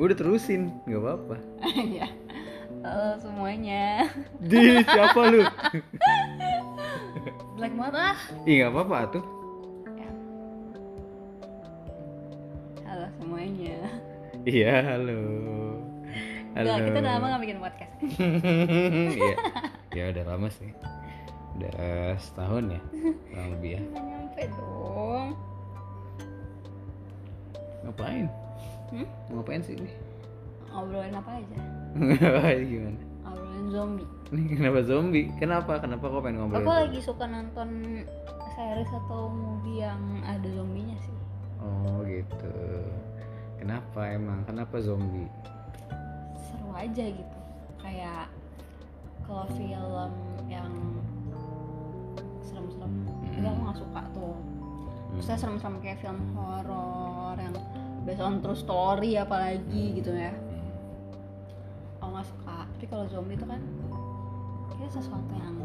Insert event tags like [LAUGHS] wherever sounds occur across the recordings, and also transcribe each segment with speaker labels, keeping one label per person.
Speaker 1: Udah terusin, nggak apa-apa.
Speaker 2: [LAUGHS] ya halo semuanya
Speaker 1: Di siapa lu?
Speaker 2: jelek banget ah
Speaker 1: Ih nggak apa-apa tuh.
Speaker 2: Ya. halo semuanya
Speaker 1: Iya halo. Halo.
Speaker 2: Nggak, Ya, kita udah lama gak bikin podcast
Speaker 1: [LAUGHS]
Speaker 2: [LAUGHS]
Speaker 1: Iya. Ya udah lama sih. Udah setahun ya, kurang lebih ya.
Speaker 2: nggak nyampe dong
Speaker 1: Ngapain?
Speaker 2: hmm?
Speaker 1: Ngapain sih ini?
Speaker 2: ngobrolin apa aja
Speaker 1: Ngapain gimana?
Speaker 2: ngobrolin zombie
Speaker 1: Ini kenapa zombie? Kenapa? Kenapa kok pengen ngobrol?
Speaker 2: aku lagi suka nonton series atau movie yang ada zombinya sih
Speaker 1: Oh gitu. Kenapa emang? Kenapa zombie?
Speaker 2: seru aja gitu kayak kalau film yang serem-serem
Speaker 1: Hmm.
Speaker 2: itu aku nggak suka tuh
Speaker 1: Hmm.
Speaker 2: Maksudnya serem-serem kayak film horor yang based on true story apalagi gitu ya
Speaker 1: Hmm.
Speaker 2: aku nggak suka tapi kalau zombie itu kan kayak sesuatu yang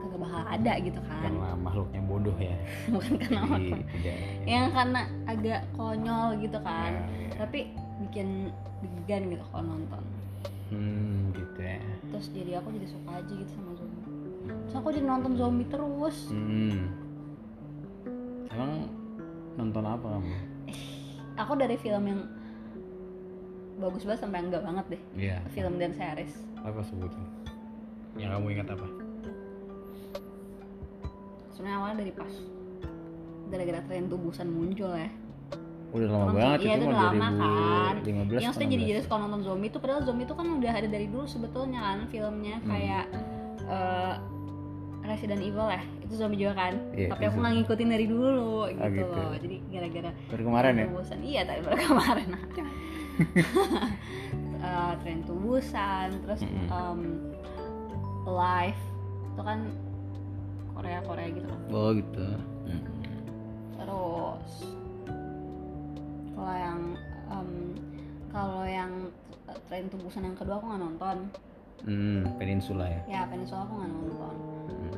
Speaker 2: kagak bakal ada gitu kan
Speaker 1: Karena makhluknya bodoh ya.
Speaker 2: [LAUGHS] bukan karena
Speaker 1: Jadi
Speaker 2: horor.
Speaker 1: tidak.
Speaker 2: yang karena agak konyol gitu
Speaker 1: Ya,
Speaker 2: kan
Speaker 1: ya.
Speaker 2: tapi bikin deg-degan gitu kalau nonton
Speaker 1: Hmm, gitu ya.
Speaker 2: terus jadi aku jadi suka aja gitu sama zombie terus aku jadi nonton zombie terus
Speaker 1: Hmm. Emang nonton apa kamu?
Speaker 2: aku dari film yang bagus banget sampai enggak banget deh
Speaker 1: Iya.
Speaker 2: film dan series
Speaker 1: Apa sebutnya? Yang kamu ingat apa?
Speaker 2: sebenarnya awalnya dari pas gara-gara tren tubusan muncul ya
Speaker 1: Udah lama
Speaker 2: Nonton-
Speaker 1: banget itu
Speaker 2: iya, itu
Speaker 1: mah
Speaker 2: udah lama kan.
Speaker 1: 2015.
Speaker 2: yang sudah jadi
Speaker 1: 16.
Speaker 2: jelas kalau nonton zombie itu padahal zombie itu kan udah ada dari dulu sebetulnya kan filmnya
Speaker 1: Hmm.
Speaker 2: kayak eh, Resident Evil ya itu zombie juga kan
Speaker 1: Iya,
Speaker 2: tapi
Speaker 1: itu
Speaker 2: aku nggak ngikutin dari dulu gitu,
Speaker 1: gitu.
Speaker 2: loh jadi gara-gara
Speaker 1: Baru kemarin ya?
Speaker 2: Tubusan. Iya, tadi baru kemarin. [LAUGHS] Eh, tren tubusan, terus
Speaker 1: Mm-mm.
Speaker 2: em, live itu kan Korea Korea gitu kan.
Speaker 1: Oh gitu. Hmm.
Speaker 2: Terus kalau yang em, kalau yang eh, tren tubusan yang kedua aku nggak nonton.
Speaker 1: Hmm, peninsula ya.
Speaker 2: Ya, Peninsula aku nggak nonton.
Speaker 1: Hmm.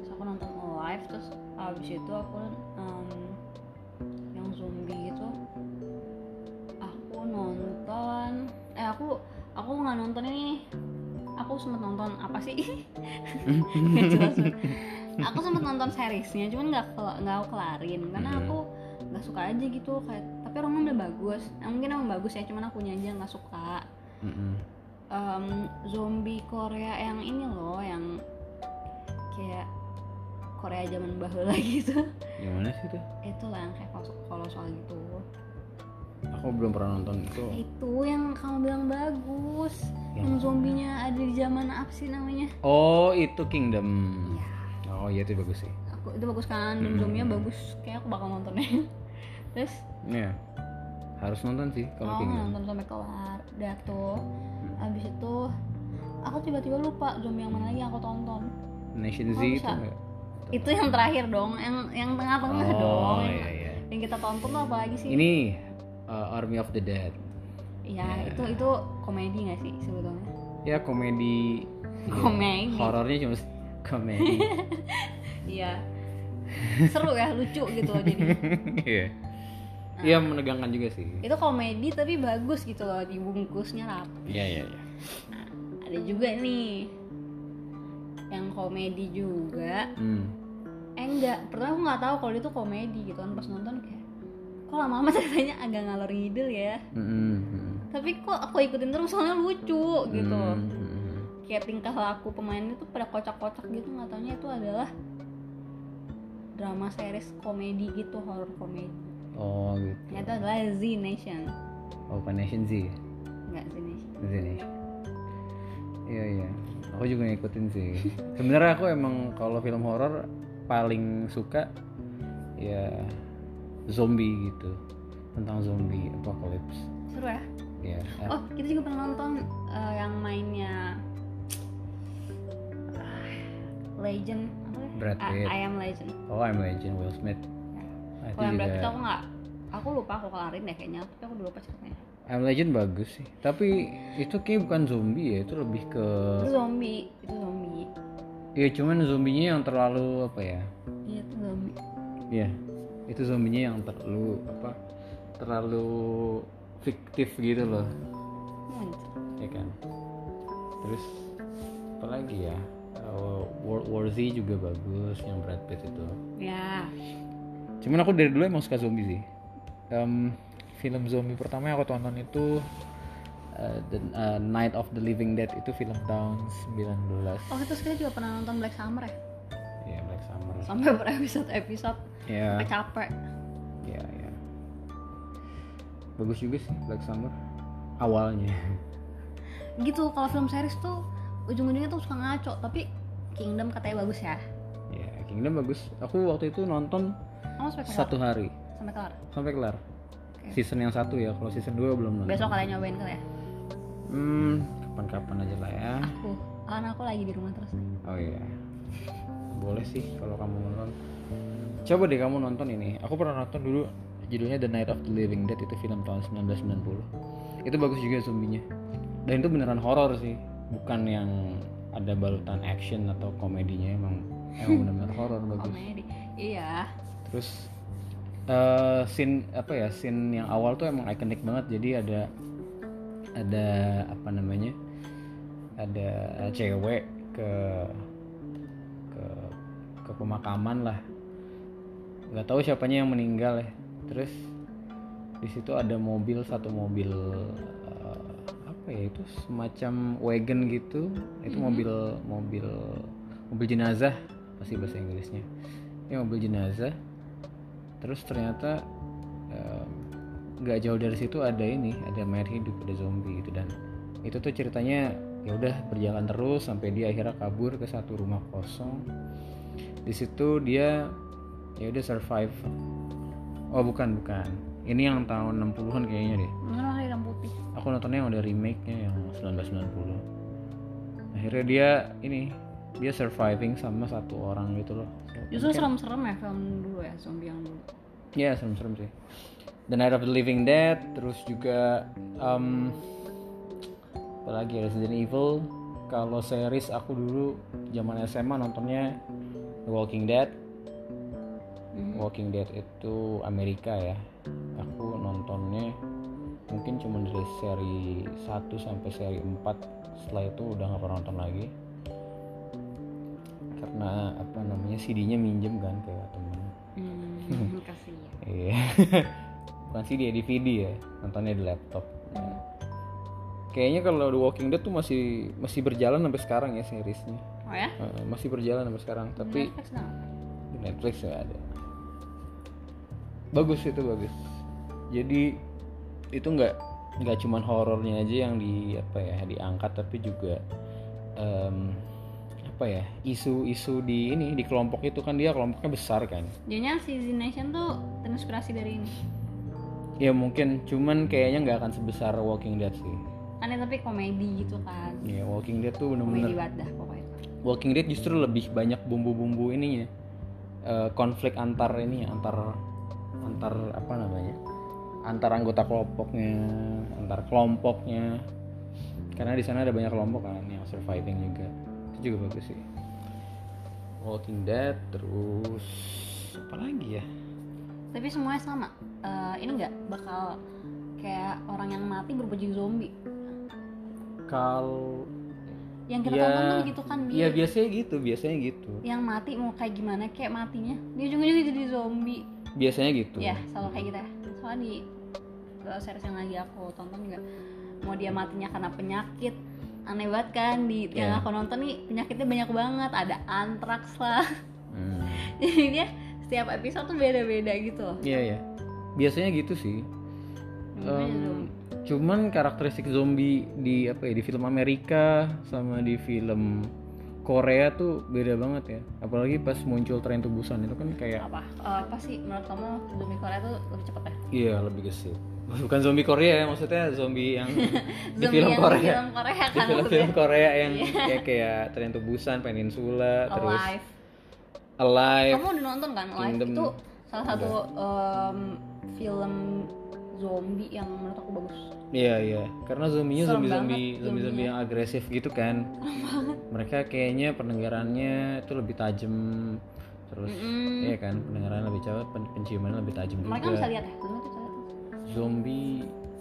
Speaker 2: Terus aku nonton live, terus abis itu aku em, yang zombie itu aku nonton eh aku aku nggak nonton ini nih. aku sempet nonton apa sih
Speaker 1: Iya.
Speaker 2: [LAUGHS] Nggak [LAUGHS] jelas
Speaker 1: [LAUGHS]
Speaker 2: banget. Gitu. aku sempet nonton seriesnya cuman nggak kel- nggak aku kelarin karena
Speaker 1: Mhm.
Speaker 2: aku nggak suka aja gitu kayak tapi orangnya udah bagus Eh, mungkin emang bagus ya cuman aku aja nggak suka
Speaker 1: Mm-mm.
Speaker 2: Em, zombie Korea yang ini loh yang kayak Korea zaman baheula [LAUGHS] gitu
Speaker 1: Yang mana sih tuh?
Speaker 2: itu lah yang kayak kolosal kolosal gitu
Speaker 1: Aku belum pernah nonton itu.
Speaker 2: itu yang kamu bilang bagus
Speaker 1: Yang
Speaker 2: yang zombinya ada di zaman apa sih namanya
Speaker 1: Oh, itu Kingdom.
Speaker 2: ya
Speaker 1: Oh, iya itu bagus sih.
Speaker 2: aku itu bagus kan
Speaker 1: Hmm.
Speaker 2: zombinya bagus kayak aku bakal nontonnya [LAUGHS] terus
Speaker 1: Iya. Harus nonton sih kalau gitu.
Speaker 2: aku
Speaker 1: Kingdom.
Speaker 2: Oh, nonton sampai kelar udah tuh abis itu aku tiba-tiba lupa zombie yang mana lagi yang aku tonton
Speaker 1: Nation Z
Speaker 2: Oh,
Speaker 1: itu nggak?
Speaker 2: bisa.
Speaker 1: Atau-
Speaker 2: itu yang terakhir dong yang yang tengah-tengah
Speaker 1: Oh,
Speaker 2: dong
Speaker 1: iya, iya.
Speaker 2: yang kita tonton tuh apa lagi sih
Speaker 1: Ini uh, Army of the Dead.
Speaker 2: ya
Speaker 1: Iya.
Speaker 2: itu itu komedi nggak sih sebetulnya
Speaker 1: Ya komedi. Iya.
Speaker 2: Komedi.
Speaker 1: Horornya cuma s- komedi.
Speaker 2: [LAUGHS] iya [LAUGHS] seru ya lucu gitu loh jadi
Speaker 1: Iya. Iya menegangkan juga sih.
Speaker 2: itu komedi tapi bagus gitu loh dibungkusnya rapi
Speaker 1: Iya iya iya.
Speaker 2: ada juga nih yang komedi juga
Speaker 1: Hmm.
Speaker 2: eh enggak pertama aku nggak tahu kalau itu komedi gitu kan pas nonton kayak kok lama-lama ceritanya agak ngalor ngidul ya
Speaker 1: Mm-mm, mm-mm.
Speaker 2: tapi kok aku ikutin terus soalnya lucu gitu
Speaker 1: Mm, mm-mm.
Speaker 2: kayak tingkah laku pemainnya tuh pada kocak-kocak gitu nggak taunya itu adalah drama series komedi gitu horror komedi
Speaker 1: Oh gitu.
Speaker 2: Nah, itu adalah Z Nation
Speaker 1: Oh bukan Nation Z. ya?
Speaker 2: nggak Z Nation
Speaker 1: Z nih. Iya iya. Aku juga ngikutin sih. Sebenarnya aku emang kalau film horor paling suka ya zombie gitu tentang zombie apocalypse.
Speaker 2: seru ya
Speaker 1: Ya. eh,
Speaker 2: oh kita juga pernah nonton eh, yang mainnya Ah, Legend apa ya?
Speaker 1: Brad
Speaker 2: I,
Speaker 1: Pitt.
Speaker 2: I am Legend
Speaker 1: Oh, I'm Legend Will Smith. Nah, itu
Speaker 2: kalau Oh, yang Brad Pitt
Speaker 1: juga
Speaker 2: aku nggak aku lupa aku kelarin deh kayaknya tapi aku udah lupa ceritanya
Speaker 1: I'm Legend bagus sih. Tapi itu kayak bukan zombie ya, itu lebih ke
Speaker 2: itu zombie itu zombie
Speaker 1: ya cuman zombinya yang terlalu apa ya?
Speaker 2: iya itu zombie
Speaker 1: Iya. Itu zombinya yang terlalu apa? Terlalu fiktif gitu loh
Speaker 2: Muncul.
Speaker 1: ya kan terus apa lagi ya Eh, World War Z juga bagus yang Brad Pitt itu
Speaker 2: Ya,
Speaker 1: cuman aku dari dulu emang suka zombie sih Em, film zombie pertama yang aku tonton itu eh, The eh, Night of the Living Dead itu film tahun 19
Speaker 2: oh itu kita juga pernah nonton Black Summer ya
Speaker 1: ya Black Summer
Speaker 2: sampai [LAUGHS] berepisode episode
Speaker 1: ya
Speaker 2: sampai capek
Speaker 1: ya ya bagus juga sih Black Summer awalnya
Speaker 2: gitu kalau film series tuh ujung-ujungnya tuh suka ngaco tapi Kingdom katanya bagus ya
Speaker 1: [LAUGHS] ya Kingdom bagus aku waktu itu nonton
Speaker 2: kamu sampai kelar
Speaker 1: satu hari
Speaker 2: sampai kelar
Speaker 1: sampai kelar season yang satu ya kalau season 2 belum nonton
Speaker 2: besok kalian nyobain kali ya
Speaker 1: hmm kapan-kapan aja lah ya
Speaker 2: aku karena aku lagi di rumah terus nih
Speaker 1: oh iya boleh sih kalau kamu nonton coba deh kamu nonton ini aku pernah nonton dulu judulnya The Night of the Living Dead itu film tahun 1990 itu bagus juga zombinya dan itu beneran horor sih bukan yang ada balutan action atau komedinya emang emang bener-bener horor bagus
Speaker 2: komedi iya
Speaker 1: terus eh scene apa ya scene yang awal tuh emang ikonik banget jadi ada ada apa namanya ada cewek ke ke ke pemakaman lah nggak tahu siapanya yang meninggal ya terus di situ ada mobil satu mobil eh, apa ya itu semacam wagon gitu itu mobil mobil mobil jenazah pasti bahasa Inggrisnya ini mobil jenazah terus ternyata eh, nggak jauh dari situ ada ini ada mayat hidup ada zombie gitu dan itu tuh ceritanya ya udah berjalan terus sampai dia akhirnya kabur ke satu rumah kosong di situ dia ya udah survive oh bukan bukan ini yang tahun 60-an kayaknya deh
Speaker 2: mungkin warna hitam putih
Speaker 1: aku nontonnya yang udah remake-nya yang 1990 akhirnya dia ini dia surviving sama satu orang gitu loh
Speaker 2: justru serem-serem ya film dulu ya zombie yang dulu
Speaker 1: Ya serem-serem sih. The Night of the Living Dead, terus juga em apa lagi ya, Resident Evil. Kalau series aku dulu zaman SMA nontonnya The Walking Dead.
Speaker 2: Mhm.
Speaker 1: Walking Dead itu Amerika ya. Aku nontonnya mungkin cuma dari seri 1 sampai seri 4 setelah itu udah nggak pernah nonton lagi karena apa namanya CD-nya minjem kan ke temen
Speaker 2: hmm, kasih ya
Speaker 1: Iya. [LAUGHS] Bukan sih dia DVD ya, nontonnya di laptop. Kayaknya kalau The Walking Dead tuh masih masih berjalan sampai sekarang ya seriesnya.
Speaker 2: oh ya
Speaker 1: Heeh, masih berjalan sampai sekarang, tapi
Speaker 2: Netflix dong
Speaker 1: di Netflix nggak ada. Bagus itu bagus. Jadi itu nggak nggak cuman horornya aja yang di apa ya diangkat, tapi juga em, apa ya isu-isu di ini di kelompok itu kan dia kelompoknya besar kan.
Speaker 2: jadinya si Z Nation tuh terinspirasi dari ini
Speaker 1: Ya mungkin, cuman kayaknya nggak akan sebesar Walking Dead sih.
Speaker 2: aneh tapi komedi gitu kan
Speaker 1: Ya Walking Dead tuh
Speaker 2: komedi
Speaker 1: bener-bener.
Speaker 2: wadah pokoknya
Speaker 1: Walking Dead justru lebih banyak bumbu-bumbu ininya, Eh, konflik antar ini, ya, antar antar apa namanya, antar anggota kelompoknya, antar kelompoknya. Karena di sana ada banyak kelompok kan yang surviving juga. Itu juga bagus sih. Walking Dead terus apa lagi ya?
Speaker 2: tapi semuanya sama Eh, ini nggak bakal kayak orang yang mati berubah jadi zombie
Speaker 1: Kalau
Speaker 2: yang kita
Speaker 1: Ya,
Speaker 2: tonton kan gitu kan Bi.
Speaker 1: ya biasanya gitu, biasanya gitu.
Speaker 2: yang mati mau kayak gimana kayak matinya dia ujung-ujungnya jadi zombie
Speaker 1: biasanya gitu
Speaker 2: ya selalu kayak gitu ya soalnya di eh, series yang lagi aku tonton juga mau dia matinya karena penyakit aneh banget kan di yang
Speaker 1: Iya.
Speaker 2: aku nonton nih penyakitnya banyak banget ada antraks lah
Speaker 1: Hmm.
Speaker 2: jadi dia Iya, setiap episode tuh beda-beda gitu loh
Speaker 1: iya ya biasanya gitu sih
Speaker 2: Namanya
Speaker 1: Em,
Speaker 2: zombie.
Speaker 1: cuman karakteristik zombie di apa ya di film Amerika sama di film Korea tuh beda banget ya apalagi pas muncul tren tubusan itu kan kayak
Speaker 2: apa Eh, apa sih menurut kamu zombie Korea tuh lebih cepet ya
Speaker 1: iya lebih gesit [LAUGHS] bukan zombie Korea ya maksudnya zombie
Speaker 2: [LAUGHS]
Speaker 1: yang di
Speaker 2: Zombie
Speaker 1: film
Speaker 2: yang
Speaker 1: Korea
Speaker 2: di film
Speaker 1: di
Speaker 2: Korea kan maksudnya
Speaker 1: film-film Korea yang kayak kayak tren tubusan
Speaker 2: [LAUGHS]
Speaker 1: peninsula terus
Speaker 2: Alive
Speaker 1: Alive
Speaker 2: kamu udah nonton kan Alive
Speaker 1: Kingdom.
Speaker 2: itu salah satu em, film zombie yang menurut aku bagus
Speaker 1: Iya iya, karena zombinya
Speaker 2: Serem
Speaker 1: zombie zombie
Speaker 2: banget
Speaker 1: zombie zombie yang agresif gitu kan. Mereka kayaknya pendengarannya itu lebih tajam, terus
Speaker 2: Mm-mm.
Speaker 1: iya kan pendengarannya lebih cepat, pen- penciumannya lebih tajam
Speaker 2: mereka
Speaker 1: juga.
Speaker 2: bisa lihat ya zombie tuh bisa lihat.
Speaker 1: Zombie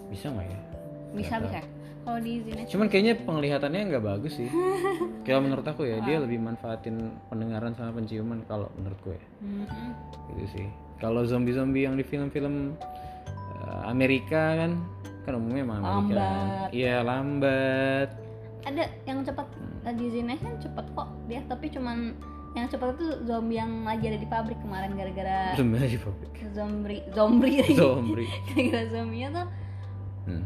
Speaker 1: bisa nggak ya
Speaker 2: bisa
Speaker 1: Nggak
Speaker 2: bisa kalau diizinin
Speaker 1: Cuman kayaknya penglihatannya nggak bagus
Speaker 2: [LAUGHS]
Speaker 1: sih. Kalau menurut aku ya,
Speaker 2: Ah.
Speaker 1: dia lebih manfaatin pendengaran sama penciuman kalau menurut gue.
Speaker 2: Mm-mm.
Speaker 1: Gitu sih. Kalau zombie-zombie yang di film-film eh, Amerika kan kan umumnya emang Amerika. kan.
Speaker 2: Lambat.
Speaker 1: Iya, lambat.
Speaker 2: ada yang cepat
Speaker 1: Hmm.
Speaker 2: diizinnya kan cepet kok dia tapi cuman yang cepat itu zombie yang lagi ada di pabrik kemarin gara-gara
Speaker 1: Zombie di pabrik.
Speaker 2: zombie zombie
Speaker 1: Zombie.
Speaker 2: gara-gara zombinya tuh
Speaker 1: Hmm.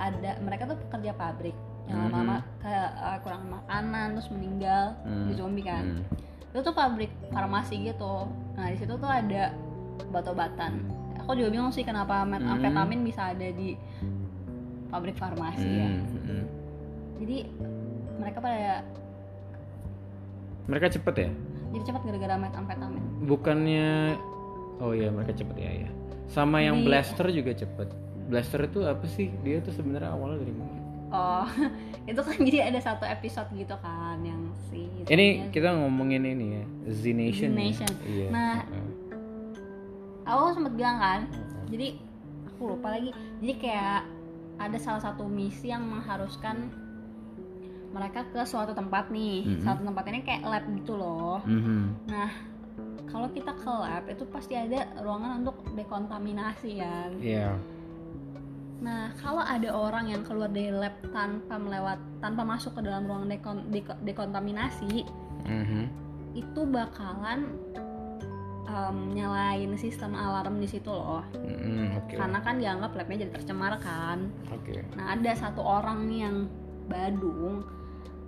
Speaker 2: ada mereka tuh pekerja pabrik yang
Speaker 1: Mhm.
Speaker 2: lama-lama ke uh, kurang makanan terus meninggal
Speaker 1: Hmm.
Speaker 2: di zombie kan
Speaker 1: Hmm.
Speaker 2: itu tuh pabrik farmasi gitu nah di situ tuh ada obat-obatan
Speaker 1: Hmm.
Speaker 2: aku juga bingung sih kenapa metamfetamin bisa ada di pabrik farmasi ya
Speaker 1: Hmm, hmm.
Speaker 2: jadi mereka pada
Speaker 1: Mereka cepet ya?
Speaker 2: jadi cepat gara-gara metamfetamin
Speaker 1: Bukannya Oh iya, mereka cepet ya ya. Sama yang
Speaker 2: Di-
Speaker 1: blaster juga cepet. Blaster itu apa sih? Dia tuh sebenarnya awalnya dari mana?
Speaker 2: oh [LAUGHS] itu kan jadi ada satu episode gitu kan yang si
Speaker 1: Ini kita ngomongin ini ya, Z Nation.
Speaker 2: Z Nation.
Speaker 1: Ya. Iya.
Speaker 2: Nah,
Speaker 1: heeh.
Speaker 2: aku sempat bilang kan jadi aku lupa lagi jadi kayak ada salah satu misi yang mengharuskan mereka ke suatu tempat nih
Speaker 1: Mhm.
Speaker 2: suatu tempat ini kayak lab gitu loh
Speaker 1: Mhm.
Speaker 2: kalau kita ke lab itu pasti ada ruangan untuk dekontaminasi kan
Speaker 1: Iya.
Speaker 2: nah kalau ada orang yang keluar dari lab tanpa melewat tanpa masuk ke dalam ruangan dekon- deko- dekontaminasi
Speaker 1: Mhm.
Speaker 2: itu bakalan em, nyalain sistem alarm di situ loh
Speaker 1: Mhm, Oke.
Speaker 2: karena kan dianggap labnya jadi tercemar kan
Speaker 1: Oke.
Speaker 2: Nah ada satu orang nih yang Badung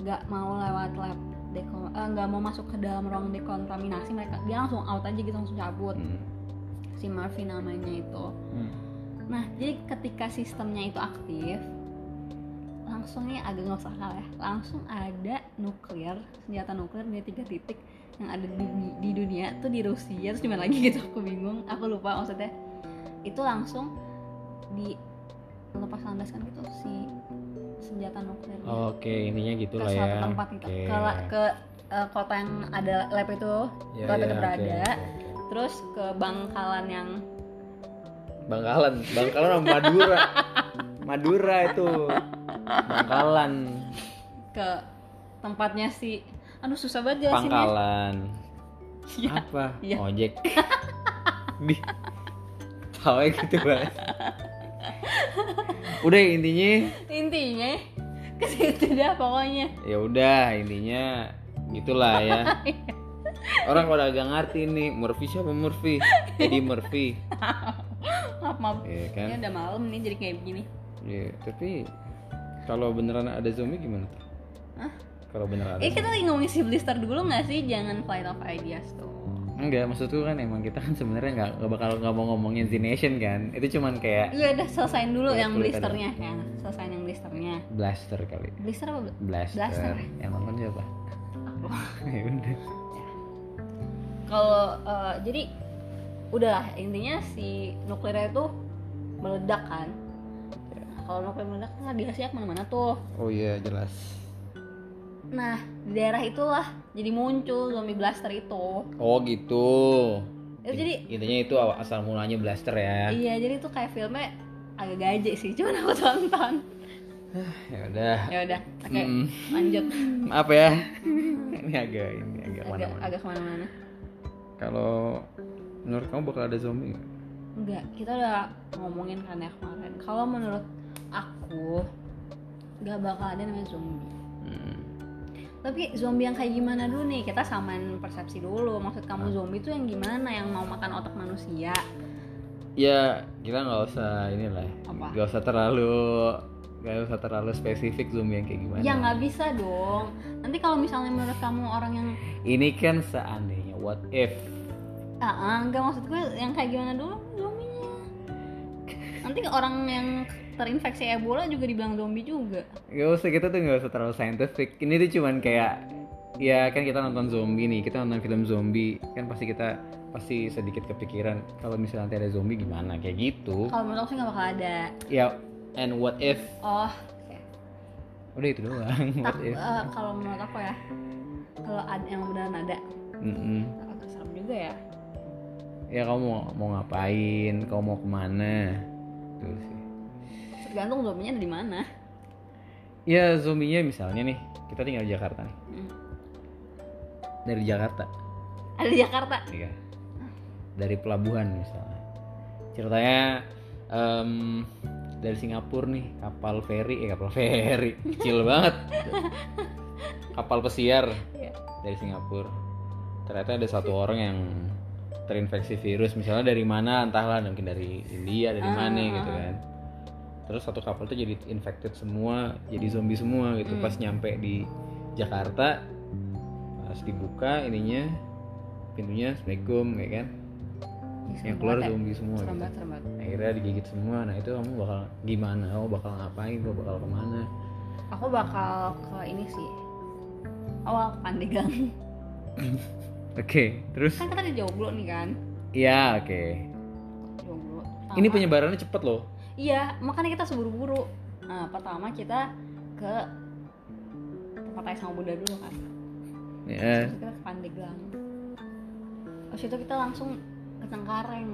Speaker 2: nggak mau lewat lab deko- eh, nggak mau masuk ke dalam ruang dekontaminasi mereka dia langsung out aja gitu langsung cabut
Speaker 1: Mhm.
Speaker 2: si Marvin namanya itu
Speaker 1: Mhm.
Speaker 2: nah jadi ketika sistemnya itu aktif langsung nih agak nggak usah akal ya langsung ada nuklir senjata nuklir di tiga titik yang ada di, di dunia tuh di Rusia terus di mana lagi gitu aku bingung aku lupa maksudnya itu langsung di lepas landaskan gitu si senjata nuklir
Speaker 1: Oke, intinya
Speaker 2: ke
Speaker 1: gitulah Oh, ya.
Speaker 2: suatu tempat gitu
Speaker 1: Oke.
Speaker 2: ke la- ke eh, kota yang ada lab itu
Speaker 1: Ya,
Speaker 2: tempat
Speaker 1: ya,
Speaker 2: itu
Speaker 1: oke,
Speaker 2: berada.
Speaker 1: oke, oke.
Speaker 2: terus ke bangkalan yang
Speaker 1: Bangkalan, Bangkalan sama Madura. Madura itu. Bangkalan,
Speaker 2: ke tempatnya si aduh susah banget jelasinnya
Speaker 1: Pangkalan.
Speaker 2: Iya.
Speaker 1: Apa?
Speaker 2: Iya.
Speaker 1: Ojek. Di. Tahu gitu banget. Udah intinya
Speaker 2: intinya ke situ dah pokoknya
Speaker 1: ya udah intinya gitulah ya
Speaker 2: Iya.
Speaker 1: orang kalau agak ngerti nih Murphy siapa Murphy jadi Murphy
Speaker 2: maaf maaf
Speaker 1: ya kan
Speaker 2: ini udah malam nih jadi kayak begini
Speaker 1: Iya, tapi kalau beneran ada zombie gimana tuh
Speaker 2: Hah?
Speaker 1: kalau beneran ada
Speaker 2: eh kita lagi ngomongin si blister dulu nggak sih jangan flight of ideas tuh
Speaker 1: zombie. enggak maksudku kan emang kita kan sebenarnya nggak nggak bakal nggak mau ngomongin Z Nation kan itu cuman kayak
Speaker 2: iya udah selesain dulu
Speaker 1: Iya,
Speaker 2: yang
Speaker 1: kulit ada.
Speaker 2: blisternya ya selesain yang blisternya
Speaker 1: blaster kali
Speaker 2: blister apa bl-
Speaker 1: blaster,
Speaker 2: Blaster.
Speaker 1: yang nonton
Speaker 2: [LAUGHS]
Speaker 1: siapa
Speaker 2: aku
Speaker 1: ya udah
Speaker 2: kalau eh, jadi udahlah intinya si nuklirnya itu meledak kan kalau nuklir meledak kan radiasinya kemana-mana tuh
Speaker 1: oh iya jelas
Speaker 2: nah di daerah itulah jadi muncul zombie blaster itu
Speaker 1: oh gitu
Speaker 2: Itu Eh, jadi-
Speaker 1: intinya itu awal- asal mulanya blaster ya
Speaker 2: Iya, jadi tuh kayak filmnya agak gaje sih, cuman aku tonton.
Speaker 1: ya udah
Speaker 2: Ya udah, oke,
Speaker 1: Mm.
Speaker 2: lanjut.
Speaker 1: Maaf ya. [LAUGHS] ini agak ini agak mana
Speaker 2: Agak, agak kemana-mana.
Speaker 1: Kalau menurut kamu bakal ada zombie? nggak?
Speaker 2: Enggak, kita udah ngomongin kan ya kemarin. Kalau menurut aku, gak bakal ada namanya zombie.
Speaker 1: Hmm.
Speaker 2: Tapi zombie yang kayak gimana dulu nih? Kita samain persepsi dulu. Maksud kamu zombie tuh yang gimana? Yang mau makan otak manusia?
Speaker 1: Ya kita nggak usah inilah,
Speaker 2: Apa?
Speaker 1: nggak usah terlalu nggak usah terlalu spesifik zombie yang kayak gimana.
Speaker 2: Ya nggak bisa dong. Nanti kalau misalnya menurut kamu orang yang
Speaker 1: Ini kan seandainya what if?
Speaker 2: Ah, ah, enggak maksud gue yang kayak gimana dulu zombinya. Nanti ke orang yang terinfeksi Ebola juga dibilang zombie juga.
Speaker 1: Gak usah kita tuh nggak usah terlalu scientific. Ini tuh cuman kayak ya kan kita nonton zombie nih, kita nonton film zombie kan pasti kita pasti sedikit kepikiran kalau misalnya nanti ada zombie gimana kayak gitu.
Speaker 2: Kalau menurut aku sih nggak bakal ada.
Speaker 1: Ya and what if?
Speaker 2: Oh,
Speaker 1: Udah itu doang. [LAUGHS]
Speaker 2: tak,
Speaker 1: What if?
Speaker 2: eh, kalau menurut aku ya, kalau ada yang beneran ada,
Speaker 1: Mm-mm.
Speaker 2: agak serem juga ya.
Speaker 1: ya kamu mau, mau ngapain kamu mau kemana Itu sih
Speaker 2: tergantung zombinya ada di mana
Speaker 1: ya zombinya misalnya nih kita tinggal di Jakarta nih
Speaker 2: Hmm.
Speaker 1: dari Jakarta
Speaker 2: ada di Jakarta
Speaker 1: Iya. Dari pelabuhan misalnya. Ceritanya em, dari Singapura nih kapal feri, eh kapal feri [LAUGHS] kecil banget. Kapal pesiar
Speaker 2: Iya.
Speaker 1: dari Singapura. Ternyata ada satu orang yang terinfeksi virus misalnya dari mana entahlah mungkin dari India
Speaker 2: Ah,
Speaker 1: dari mana gitu kan. Terus satu kapal tuh jadi infected semua, jadi zombie semua gitu.
Speaker 2: Hmm.
Speaker 1: Pas nyampe di Jakarta pas Nah, dibuka ininya pintunya assalamualaikum ya kan yang keluar
Speaker 2: ya.
Speaker 1: zombie semua
Speaker 2: serem
Speaker 1: gitu.
Speaker 2: banget serem banget
Speaker 1: akhirnya digigit semua nah itu kamu bakal gimana kamu bakal ngapain kamu bakal kemana
Speaker 2: aku bakal ke ini sih awal Pandeglang [LAUGHS]
Speaker 1: oke terus
Speaker 2: kan kita di Joglo nih kan
Speaker 1: iya oke
Speaker 2: Joglo
Speaker 1: ini
Speaker 2: Pertama-
Speaker 1: penyebarannya cepet loh
Speaker 2: iya makanya kita seburu-buru nah pertama kita ke tempat ayah sama bunda dulu kan
Speaker 1: ya
Speaker 2: terus kita ke Pandeglang terus itu kita langsung ke Cengkareng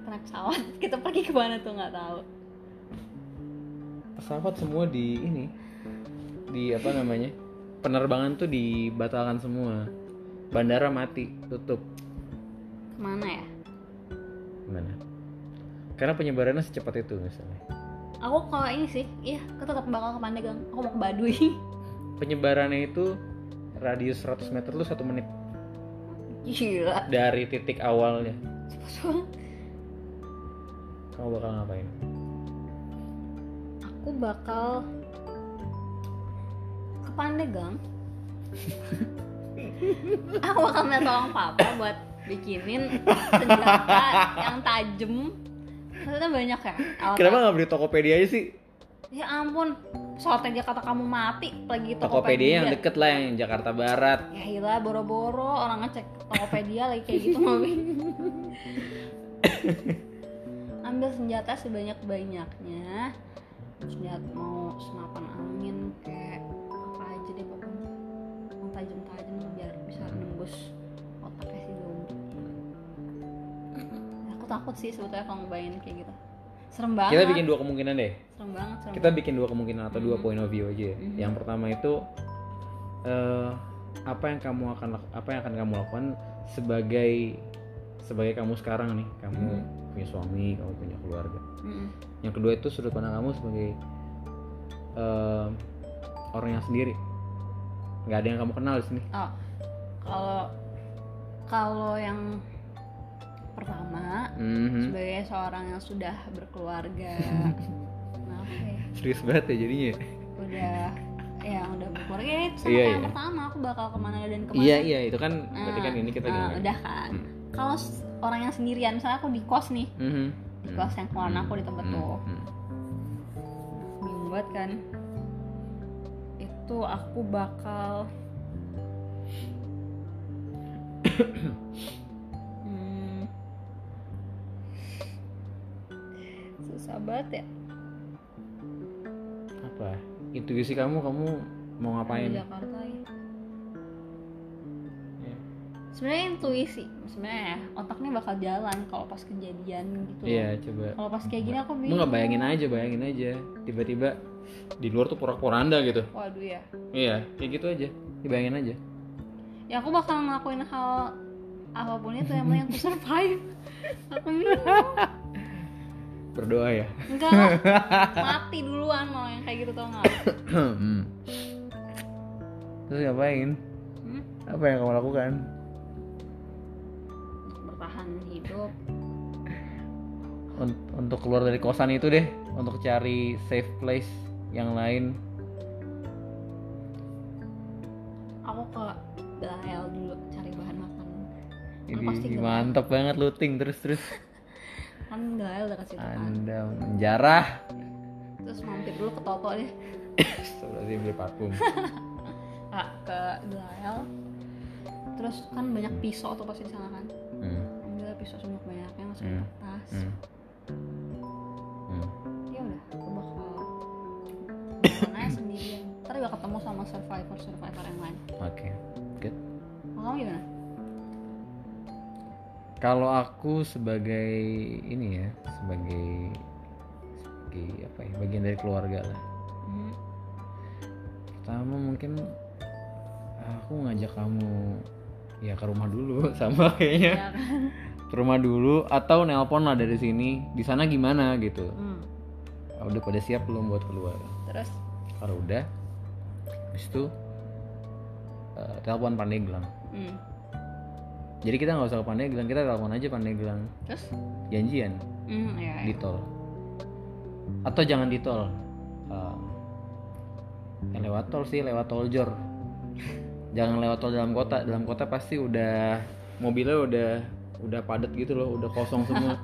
Speaker 2: kita naik pesawat [LAUGHS] kita pergi ke mana tuh nggak tahu
Speaker 1: pesawat semua di ini di apa namanya penerbangan tuh dibatalkan semua bandara mati tutup
Speaker 2: kemana ya
Speaker 1: gimana karena penyebarannya secepat itu misalnya
Speaker 2: aku kalau ini sih iya aku tetap bakal ke Pandeglang aku mau ke Baduy
Speaker 1: penyebarannya itu radius 100 meter tuh satu menit
Speaker 2: [LAUGHS] gila
Speaker 1: dari titik awalnya
Speaker 2: Sumpah-sumpah.
Speaker 1: kamu bakal ngapain
Speaker 2: aku bakal ke [LAUGHS] Pandeglang aku bakal minta tolong papa buat bikinin [LAUGHS] senjata yang tajam ternyata banyak ya alat
Speaker 1: Kenapa nggak beli Tokopedia aja sih?
Speaker 2: ya ampun soal tega kata kamu mati lagi
Speaker 1: Tokopedia yang
Speaker 2: Tokopedia.
Speaker 1: deket lah yang Jakarta Barat.
Speaker 2: ya gila boro-boro orang ngecek Tokopedia lagi kayak gitu
Speaker 1: [LAUGHS]
Speaker 2: mami ambil senjata sebanyak-banyaknya senjata mau senapan angin kayak apa aja deh pokoknya yang tajam-tajam biar bisa nembus otaknya si zombie aku takut sih sebetulnya kalau ngebayangin kayak gitu serem banget
Speaker 1: Kita bikin dua kemungkinan deh.
Speaker 2: serem banget serem
Speaker 1: Kita bikin dua kemungkinan atau dua
Speaker 2: Mhm.
Speaker 1: point of view aja. ya.
Speaker 2: Mhm.
Speaker 1: Yang pertama itu eh, apa yang kamu akan lak- apa yang akan kamu lakukan sebagai sebagai kamu sekarang nih, kamu
Speaker 2: Mhm.
Speaker 1: punya suami, kamu punya keluarga.
Speaker 2: banget. Mm-mm.
Speaker 1: Yang kedua itu sudut pandang kamu sebagai eh, orang yang sendiri. Nggak ada yang kamu kenal di sini.
Speaker 2: Oh, kalau kalau yang pertama
Speaker 1: Mhm.
Speaker 2: sebagai seorang yang sudah
Speaker 1: [LAUGHS]
Speaker 2: berkeluarga, kenapa ya?
Speaker 1: Serius banget ya jadinya. ya?
Speaker 2: Udah ya udah berkeluarga ya, itu sama
Speaker 1: Iya,
Speaker 2: kayak
Speaker 1: iya.
Speaker 2: yang pertama aku bakal kemana dan kemana.
Speaker 1: Iya iya itu kan berarti
Speaker 2: Nah,
Speaker 1: kan ini kita
Speaker 2: nah,
Speaker 1: gimana?
Speaker 2: udah kan.
Speaker 1: Hmm.
Speaker 2: Kalau s- orang yang sendirian, misalnya aku di kos nih,
Speaker 1: Mhm.
Speaker 2: di kos yang keluaran aku di tempat tuh,
Speaker 1: Hmm.
Speaker 2: bingung banget kan. Itu aku bakal Hmm. susah banget ya
Speaker 1: Apa? Intuisi kamu kamu mau
Speaker 2: di
Speaker 1: ngapain?
Speaker 2: Jakarta ya.
Speaker 1: Iya.
Speaker 2: Sebenarnya intuisi, sebenarnya ya, otaknya bakal jalan kalau pas kejadian gitu.
Speaker 1: Iya coba.
Speaker 2: Kalau pas kayak gini aku
Speaker 1: Mau
Speaker 2: bingung.
Speaker 1: nggak bayangin aja bayangin aja. Tiba-tiba di luar tuh porak-poranda gitu.
Speaker 2: Waduh ya.
Speaker 1: Iya kayak gitu aja. Dibayangin aja.
Speaker 2: Ya aku bakal ngelakuin hal apapun itu yang penting aku survive. [LAUGHS] aku bingung.
Speaker 1: Berdoa ya. [LAUGHS]
Speaker 2: Enggak [LAUGHS] lah. Mati duluan mau yang kayak gitu tau nggak?
Speaker 1: Hmm. Terus ngapain?
Speaker 2: Hmm?
Speaker 1: Apa yang kamu lakukan?
Speaker 2: Bertahan hidup.
Speaker 1: Un- untuk keluar dari kosan itu deh, untuk cari safe place yang lain.
Speaker 2: Aku ke Belael dulu cari bahan makan. Aku pasti
Speaker 1: Ini
Speaker 2: gelap.
Speaker 1: mantep banget looting terus terus.
Speaker 2: Kan Belael dekat situ kan.
Speaker 1: Anda menjarah.
Speaker 2: Terus mampir dulu ke Toto deh.
Speaker 1: Sebenarnya beli parfum.
Speaker 2: Ah, ke Belael. Terus kan banyak pisau tuh pasti di sana kan.
Speaker 1: Hmm,
Speaker 2: ambil pisau sebanyak banyaknya masukin
Speaker 1: Hmm.
Speaker 2: ke tas
Speaker 1: hmm, hmm.
Speaker 2: ya udah aku [COUGHS] bakal jalan aja sendirian ntar gak ketemu sama survivor survivor yang lain
Speaker 1: Oke. Good.
Speaker 2: kalau kamu gimana
Speaker 1: Kalau aku sebagai ini ya, sebagai sebagai apa ya bagian dari keluarga lah
Speaker 2: Hmm.
Speaker 1: pertama mungkin aku ngajak kamu ya ke rumah dulu [LAUGHS] sama kayaknya
Speaker 2: Ya kan?
Speaker 1: ke rumah dulu atau nelpon lah dari sini di sana gimana gitu
Speaker 2: Hmm.
Speaker 1: udah pada siap belum buat keluar
Speaker 2: Terus
Speaker 1: kalau udah habis itu eh, telepon Pandeglang
Speaker 2: hmm.
Speaker 1: jadi kita nggak usah ke Pandeglang kita telepon aja Pandeglang
Speaker 2: Terus
Speaker 1: janjian
Speaker 2: hmm, ya, ya.
Speaker 1: di tol atau jangan di tol Eh, yang lewat tol sih lewat tol jor jangan lewat tol dalam kota dalam kota pasti udah mobilnya udah udah padat gitu loh udah kosong semua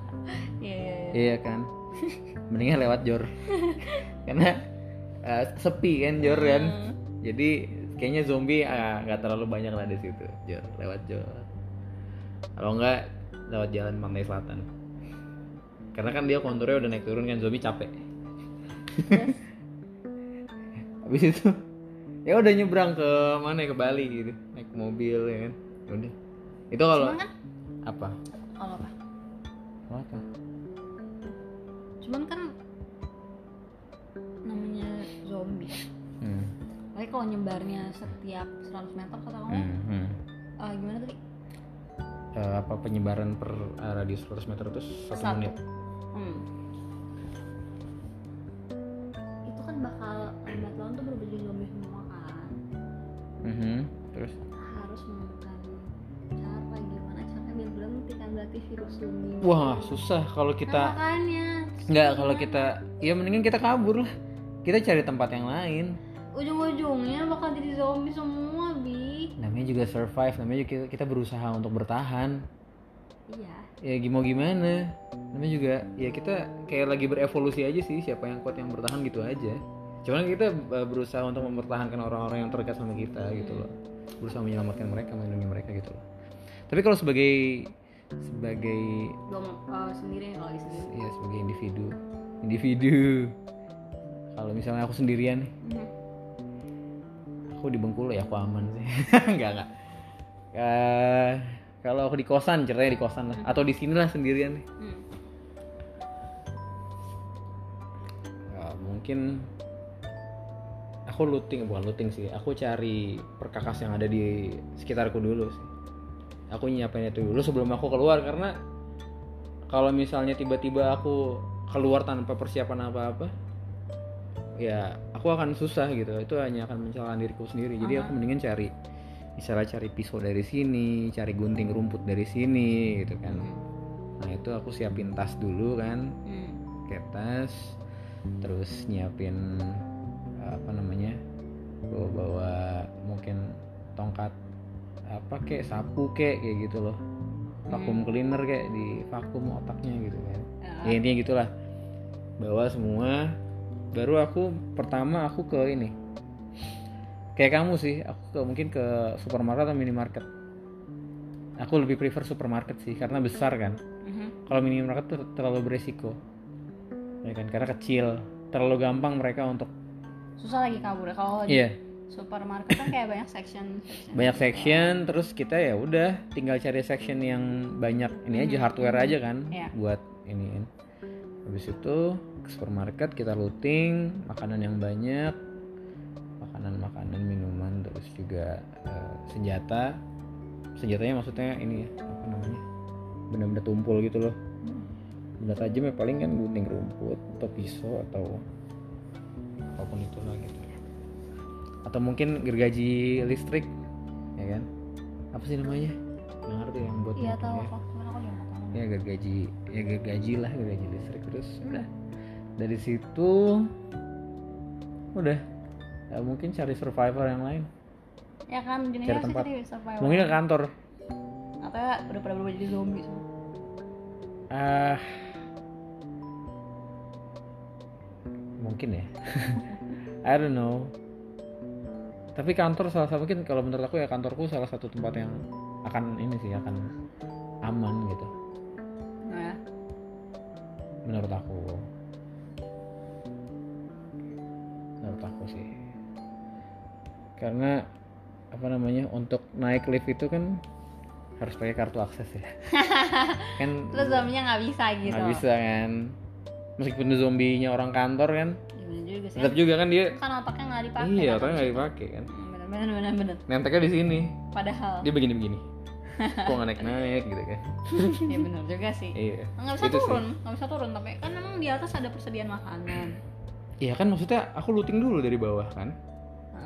Speaker 2: Iya, iya, iya.
Speaker 1: iya kan mendingan lewat jor karena eh, sepi kan jor kan
Speaker 2: Hmm.
Speaker 1: jadi kayaknya zombie ah, nggak terlalu banyak lah di situ jor lewat jor kalau nggak lewat jalan pantai selatan karena kan dia konturnya udah naik turun kan zombie capek Gitu. habis itu ya udah nyebrang ke mana ya, ke Bali gitu naik mobil ya kan udah itu [LAUGHS] kalau
Speaker 2: Cuman kan
Speaker 1: apa
Speaker 2: oh, apa?
Speaker 1: apa
Speaker 2: Cuman kan namanya zombie.
Speaker 1: hmm.
Speaker 2: Tapi kalau nyebarnya setiap 100 meter kata kamu
Speaker 1: Hmm, hmm.
Speaker 2: eh, gimana tadi?
Speaker 1: Eh, apa penyebaran per eh, radius 100 meter itu satu,
Speaker 2: Satu.
Speaker 1: menit
Speaker 2: Hmm. Itu kan bakal lambat laun tuh berubah jadi zombie semua kan.
Speaker 1: Mhm, terus
Speaker 2: Harus menemukan cara gimana caranya biar berhenti kan berarti virus zombie.
Speaker 1: wah susah kalau
Speaker 2: Nah,
Speaker 1: kita
Speaker 2: makanya
Speaker 1: nggak kalau kita ya mendingan kita kabur lah kita cari tempat yang lain
Speaker 2: ujung-ujungnya bakal jadi zombie semua bi
Speaker 1: namanya juga survive namanya juga kita, kita berusaha untuk bertahan
Speaker 2: iya
Speaker 1: ya gimau gimana namanya juga ya kita kayak lagi berevolusi aja sih siapa yang kuat yang bertahan gitu aja cuman kita eh, berusaha untuk mempertahankan orang-orang yang terdekat sama kita gitu loh berusaha menyelamatkan mereka melindungi mereka gitu loh tapi kalau sebagai sebagai
Speaker 2: gua mau eh, sendiri kalau lagi sendiri
Speaker 1: ya sebagai individu individu kalau misalnya aku sendirian nih aku di Bengkulu ya aku aman sih [LAUGHS] nggak nggak Eh, kalau aku di kosan ceritanya di kosan lah atau di sinilah sendirian nih
Speaker 2: Hmm.
Speaker 1: Eh, mungkin aku looting bukan looting sih aku cari perkakas yang ada di sekitarku dulu sih aku nyiapin itu dulu sebelum aku keluar karena kalau misalnya tiba-tiba aku keluar tanpa persiapan apa-apa ya aku akan susah gitu itu hanya akan mencelakan diriku sendiri jadi aku mendingan cari misalnya cari pisau dari sini cari gunting rumput dari sini gitu kan nah itu aku siapin tas dulu kan
Speaker 2: Hmm.
Speaker 1: pakai tas terus nyiapin apa namanya bawa bawa mungkin tongkat apa kek sapu kek kayak gitu loh vakum cleaner kayak di vakum otaknya gitu kan ya
Speaker 2: Eh,
Speaker 1: intinya gitulah bawa semua baru aku pertama aku ke ini kayak kamu sih aku ke mungkin ke supermarket atau minimarket aku lebih prefer supermarket sih karena besar kan
Speaker 2: mhm.
Speaker 1: kalau minimarket tuh terlalu beresiko ya kan karena kecil terlalu gampang mereka untuk
Speaker 2: susah lagi kabur ya, kalau di
Speaker 1: iya
Speaker 2: supermarket kan kayak banyak section, section.
Speaker 1: banyak section terus kita ya udah tinggal cari section yang banyak ini aja hardware aja kan
Speaker 2: Iya.
Speaker 1: buat ini habis itu ke supermarket kita looting makanan yang banyak makanan-makanan minuman terus juga eh, senjata senjatanya maksudnya ini ya apa namanya benda-benda tumpul gitu loh
Speaker 2: Hmm.
Speaker 1: benda tajam ya paling kan gunting rumput atau pisau atau apapun itulah gitu atau mungkin gergaji listrik ya kan apa sih namanya nggak ngerti yang buat
Speaker 2: iya
Speaker 1: motong
Speaker 2: tahu
Speaker 1: ya.
Speaker 2: kok cuman aku juga nggak tahu.
Speaker 1: ya gergaji ya gergaji lah gergaji listrik terus udah dari situ udah Ya, mungkin cari survivor yang lain
Speaker 2: ya kan ujungnya
Speaker 1: Cari
Speaker 2: sih
Speaker 1: tempat.
Speaker 2: tadi survival
Speaker 1: mungkin ke kantor
Speaker 2: atau ya udah pada berubah jadi zombie semua
Speaker 1: ah mungkin ya [LAUGHS] I don't know tapi kantor salah satu mungkin kalau menurut aku ya kantorku salah satu tempat yang akan ini sih akan aman gitu
Speaker 2: nah, ya.
Speaker 1: menurut aku menurut aku sih karena apa namanya untuk naik lift itu kan harus pakai kartu akses ya kan
Speaker 2: terus zombinya nggak bisa gitu
Speaker 1: nggak bisa kan meskipun itu zombinya orang kantor kan
Speaker 2: gimana juga sih
Speaker 1: tetap juga kan dia
Speaker 2: kan otaknya nggak dipakai
Speaker 1: iya
Speaker 2: kan,
Speaker 1: otaknya
Speaker 2: abis
Speaker 1: nggak
Speaker 2: itu.
Speaker 1: dipakai kan
Speaker 2: Hmm, bener bener bener bener
Speaker 1: nenteknya di sini
Speaker 2: padahal
Speaker 1: [LAUGHS] dia begini
Speaker 2: [LAUGHS]
Speaker 1: begini kok nggak naik naik gitu kan
Speaker 2: ya bener juga sih
Speaker 1: iya
Speaker 2: nggak bisa
Speaker 1: Itu sih.
Speaker 2: turun nggak bisa turun tapi kan emang di atas ada persediaan makanan
Speaker 1: iya kan maksudnya aku looting dulu dari bawah kan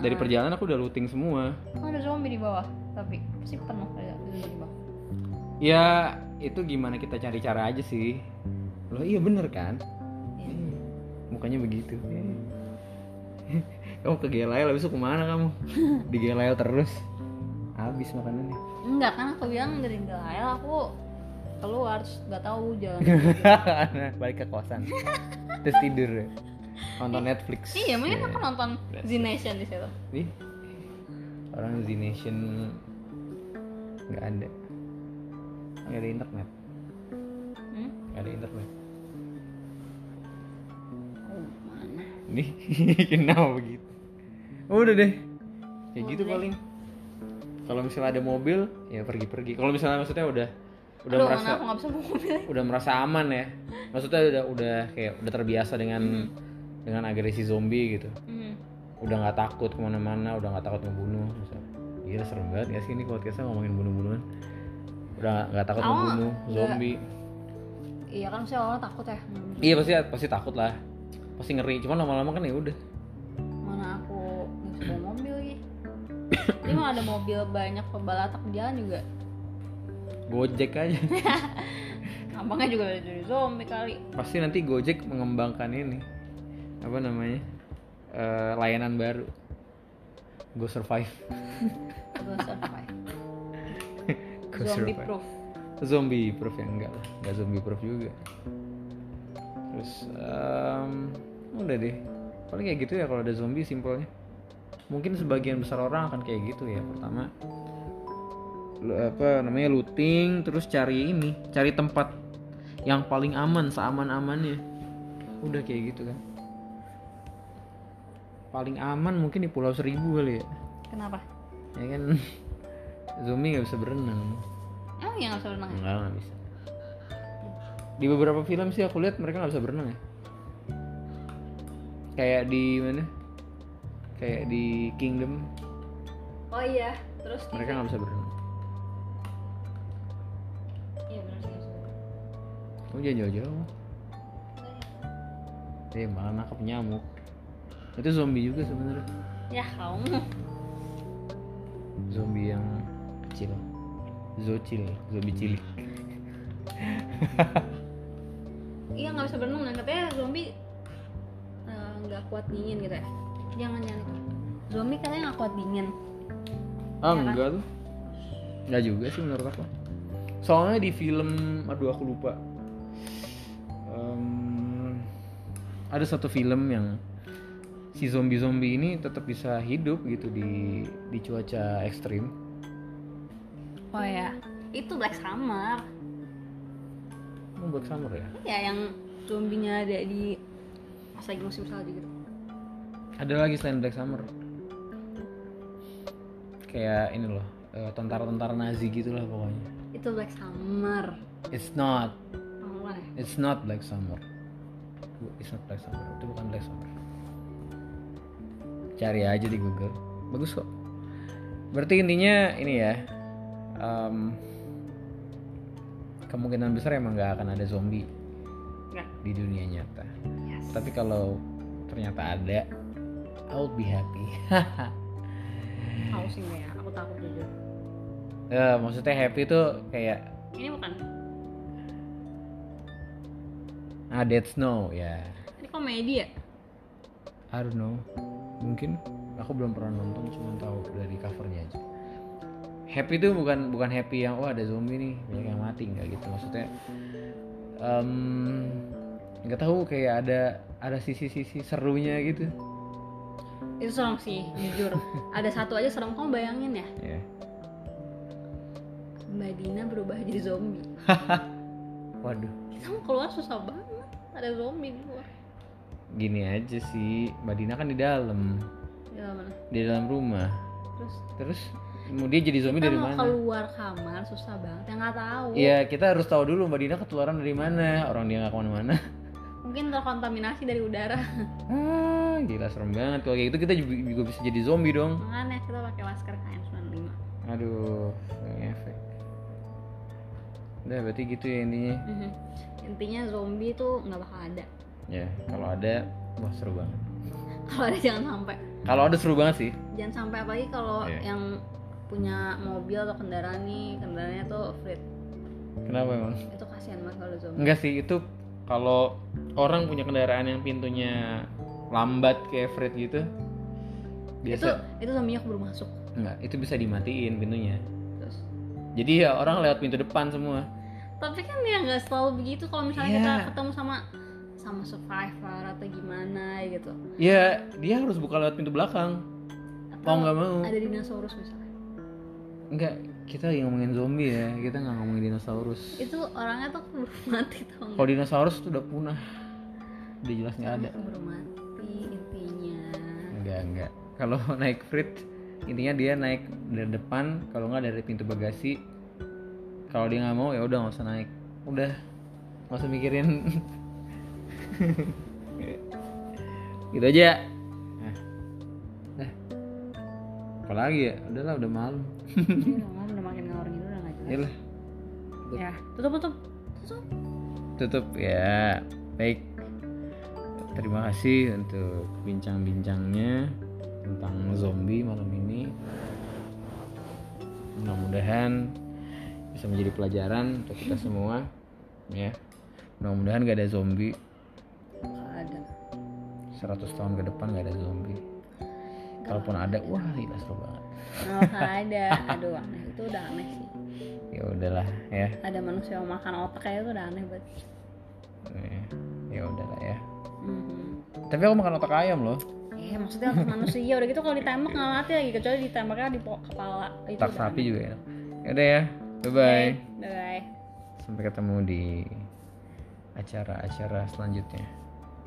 Speaker 1: dari
Speaker 2: Ah.
Speaker 1: perjalanan aku udah looting semua
Speaker 2: Kan ada zombie di bawah tapi pasti penuh ada zombie di bawah
Speaker 1: ya itu gimana kita cari cara aja sih loh iya bener kan
Speaker 2: Iya.
Speaker 1: Iya. mukanya begitu [LAUGHS] kamu ke Gelael habis itu kemana
Speaker 2: [LAUGHS]
Speaker 1: kamu di Gelael terus habis makanannya
Speaker 2: enggak kan aku bilang dari Gelael aku keluar terus nggak tahu
Speaker 1: [LAUGHS]
Speaker 2: jalan
Speaker 1: Nah, [LAUGHS] balik ke kosan terus tidur ya. nonton Netflix
Speaker 2: iya mungkin aku nonton
Speaker 1: That's
Speaker 2: Z Nation di situ
Speaker 1: Ih, orang Z Nation nggak ada nggak ada internet
Speaker 2: hmm?
Speaker 1: nggak ada internet
Speaker 2: oh mana
Speaker 1: nih [LAUGHS] kenapa begitu udah deh ya gitu
Speaker 2: Udah.
Speaker 1: paling kalau misalnya ada mobil ya pergi-pergi kalau misalnya maksudnya udah udah
Speaker 2: Aduh,
Speaker 1: merasa
Speaker 2: mana aku nggak bisa bawa mobil
Speaker 1: udah merasa aman ya maksudnya udah udah kayak udah terbiasa dengan dengan agresi zombie gitu
Speaker 2: hmm.
Speaker 1: udah nggak takut kemana-mana udah nggak takut ngebunuh misalnya iya serem banget ya sih ini podcastnya ngomongin bunuh-bunuhan udah nggak- nggak takut
Speaker 2: Aku nggak-
Speaker 1: ngebunuh
Speaker 2: nggak.
Speaker 1: zombie
Speaker 2: iya kan saya awalnya takut ya
Speaker 1: iya pasti pasti takut lah pasti ngeri cuman lama-lama kan ya udah
Speaker 2: mana aku nggak bisa bawa mobil lagi ini mau ada mobil banyak pembalatak di jalan juga
Speaker 1: gojek aja [LAUGHS]
Speaker 2: abangnya juga udah jadi zombie kali
Speaker 1: pasti nanti gojek mengembangkan ini apa namanya Eh, layanan baru go survive
Speaker 2: gue survive
Speaker 1: go
Speaker 2: zombie
Speaker 1: survive.
Speaker 2: proof
Speaker 1: zombie proof ya enggak lah enggak zombie proof juga terus em, udah deh paling kayak gitu ya kalau ada zombie simpelnya mungkin sebagian besar orang akan kayak gitu ya pertama lu- apa namanya looting terus cari ini cari tempat yang paling aman seaman amannya udah kayak gitu kan paling aman mungkin di Pulau Seribu kali ya
Speaker 2: kenapa
Speaker 1: ya kan [LAUGHS] zombie nggak bisa berenang
Speaker 2: emang yang nggak bisa berenang ya?
Speaker 1: Enggak, nggak bisa. Di beberapa film sih aku lihat mereka nggak bisa berenang ya. Kayak di mana? Kayak di Kingdom
Speaker 2: oh iya terus di-
Speaker 1: mereka nggak bisa berenang.
Speaker 2: iya benar sih nggak bisa berenang.
Speaker 1: Kamu jangan jauh-jauh. Eh malah nangkap nyamuk. Itu zombie juga sebenarnya.
Speaker 2: ya kamu
Speaker 1: Zombie yang kecil. Zocil, zombie cilik.
Speaker 2: iya nggak bisa berenang dan katanya zombie eh, nggak kuat dingin gitu ya jangan jangan itu zombie katanya nggak kuat dingin
Speaker 1: Ah enggak tuh. Enggak juga sih menurut aku. Soalnya di film, aduh aku lupa. Em, ada satu film yang si zombie-zombie ini tetap bisa hidup gitu di di cuaca ekstrim.
Speaker 2: oh ya itu black summer
Speaker 1: Oh, Black Summer ya.
Speaker 2: ya yang zombinya ada di pas lagi musim salju gitu
Speaker 1: Ada lagi selain Black Summer. Kayak ini loh, eh, tentara-tentara Nazi gitulah pokoknya.
Speaker 2: itu black summer
Speaker 1: It's not,
Speaker 2: Allah ya
Speaker 1: it's not Black Summer. Bu- It's not Black Summer. Itu bukan Black Summer. cari aja di Google bagus kok berarti intinya ini ya em, kemungkinan besar emang nggak akan ada zombie
Speaker 2: Nggak.
Speaker 1: di dunia nyata
Speaker 2: yes
Speaker 1: tapi kalau ternyata ada I would be happy
Speaker 2: tahu sih gue ya aku takut jujur
Speaker 1: Eh, maksudnya happy tuh kayak
Speaker 2: ini bukan
Speaker 1: ah that's no ya
Speaker 2: ini komedi ya
Speaker 1: I don't know mungkin aku belum pernah nonton cuma tahu dari covernya aja happy itu bukan bukan happy yang wah ada zombie nih banyak yang mati nggak gitu maksudnya em, nggak tahu kayak ada ada sisi-sisi serunya gitu
Speaker 2: itu serem sih jujur ada satu aja serem kamu bayangin ya
Speaker 1: ya
Speaker 2: Mbak Dina berubah jadi zombie
Speaker 1: waduh
Speaker 2: kita mau keluar susah banget ada zombie di luar
Speaker 1: gini aja sih mbak Dina kan di dalam
Speaker 2: di dalam mana
Speaker 1: di dalam rumah
Speaker 2: Iya, terus
Speaker 1: terus mau dia jadi zombie
Speaker 2: kita
Speaker 1: dari
Speaker 2: mau
Speaker 1: mana
Speaker 2: keluar kamar susah banget ya nggak tahu
Speaker 1: Iya kita harus tahu dulu mbak Dina ketularan dari mana orang dia nggak kemana-mana
Speaker 2: mungkin terkontaminasi dari udara [LAUGHS]
Speaker 1: ah gila serem banget kalau kayak gitu kita juga, juga bisa jadi zombie dong
Speaker 2: makanya kita pakai masker KN95
Speaker 1: aduh ini efek udah berarti gitu ya intinya
Speaker 2: Mhm. intinya zombie tuh nggak bakal ada
Speaker 1: ya kalau ada wah seru banget
Speaker 2: kalau ada jangan sampai
Speaker 1: kalau ada seru banget sih
Speaker 2: jangan sampai apalagi kalau
Speaker 1: Iya.
Speaker 2: yang punya mobil atau kendaraan nih kendaraannya tuh fleet
Speaker 1: kenapa emang
Speaker 2: itu kasihan banget kalau zombie
Speaker 1: enggak sih itu kalau orang punya kendaraan yang pintunya lambat kayak Fred gitu
Speaker 2: itu
Speaker 1: biasa
Speaker 2: itu zombinya keburu masuk
Speaker 1: enggak itu bisa dimatiin pintunya
Speaker 2: terus
Speaker 1: jadi ya orang lewat pintu depan semua
Speaker 2: tapi kan ya nggak selalu begitu kalau misalnya
Speaker 1: Iya.
Speaker 2: kita ketemu sama sama survivor atau gimana gitu
Speaker 1: ya dia harus buka lewat pintu belakang
Speaker 2: atau
Speaker 1: mau nggak mau
Speaker 2: ada dinosaurus misalnya
Speaker 1: enggak kita lagi ngomongin zombie ya kita nggak ngomongin dinosaurus
Speaker 2: itu orangnya tuh keburu mati tau nggak
Speaker 1: kalau dinosaurus tuh udah punah udah jelas nggak ada
Speaker 2: Orangnya keburu mati intinya
Speaker 1: [LAUGHS] enggak enggak kalau [LAUGHS] naik Fred intinya dia naik dari depan kalau nggak dari pintu bagasi kalau dia nggak mau ya udah nggak usah naik udah nggak usah mikirin [LAUGHS] gitu aja nah. Nah. apa lagi ya udahlah udah malam Iya
Speaker 2: Ini udah malam, udah makin ngawur gitu udah nggak jelas
Speaker 1: Yalah.
Speaker 2: ya tutup tutup tutup
Speaker 1: tutup ya baik terima kasih untuk bincang-bincangnya tentang zombie malam ini mudah-mudahan bisa menjadi pelajaran untuk kita semua ya mudah-mudahan gak ada zombie
Speaker 2: nggak ada
Speaker 1: 100 tahun ke depan gak ada zombie kalaupun ada wah gila seru banget
Speaker 2: nggak [LAUGHS] ada aduh aneh itu udah aneh sih
Speaker 1: ya udahlah ya
Speaker 2: ada manusia yang makan otak kayak itu udah aneh banget
Speaker 1: Ya, ya udahlah ya
Speaker 2: Mhm.
Speaker 1: tapi aku makan otak ayam loh
Speaker 2: eh maksudnya otak manusia udah gitu kalau ditembak nggak mati lagi kecuali ditembaknya di po- kepala itu
Speaker 1: otak
Speaker 2: udah
Speaker 1: sapi
Speaker 2: aneh.
Speaker 1: juga ya udah ya bye bye
Speaker 2: Oke, bye
Speaker 1: sampai ketemu di acara-acara selanjutnya.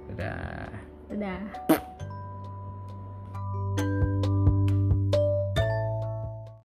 Speaker 1: Dadah.
Speaker 2: dadah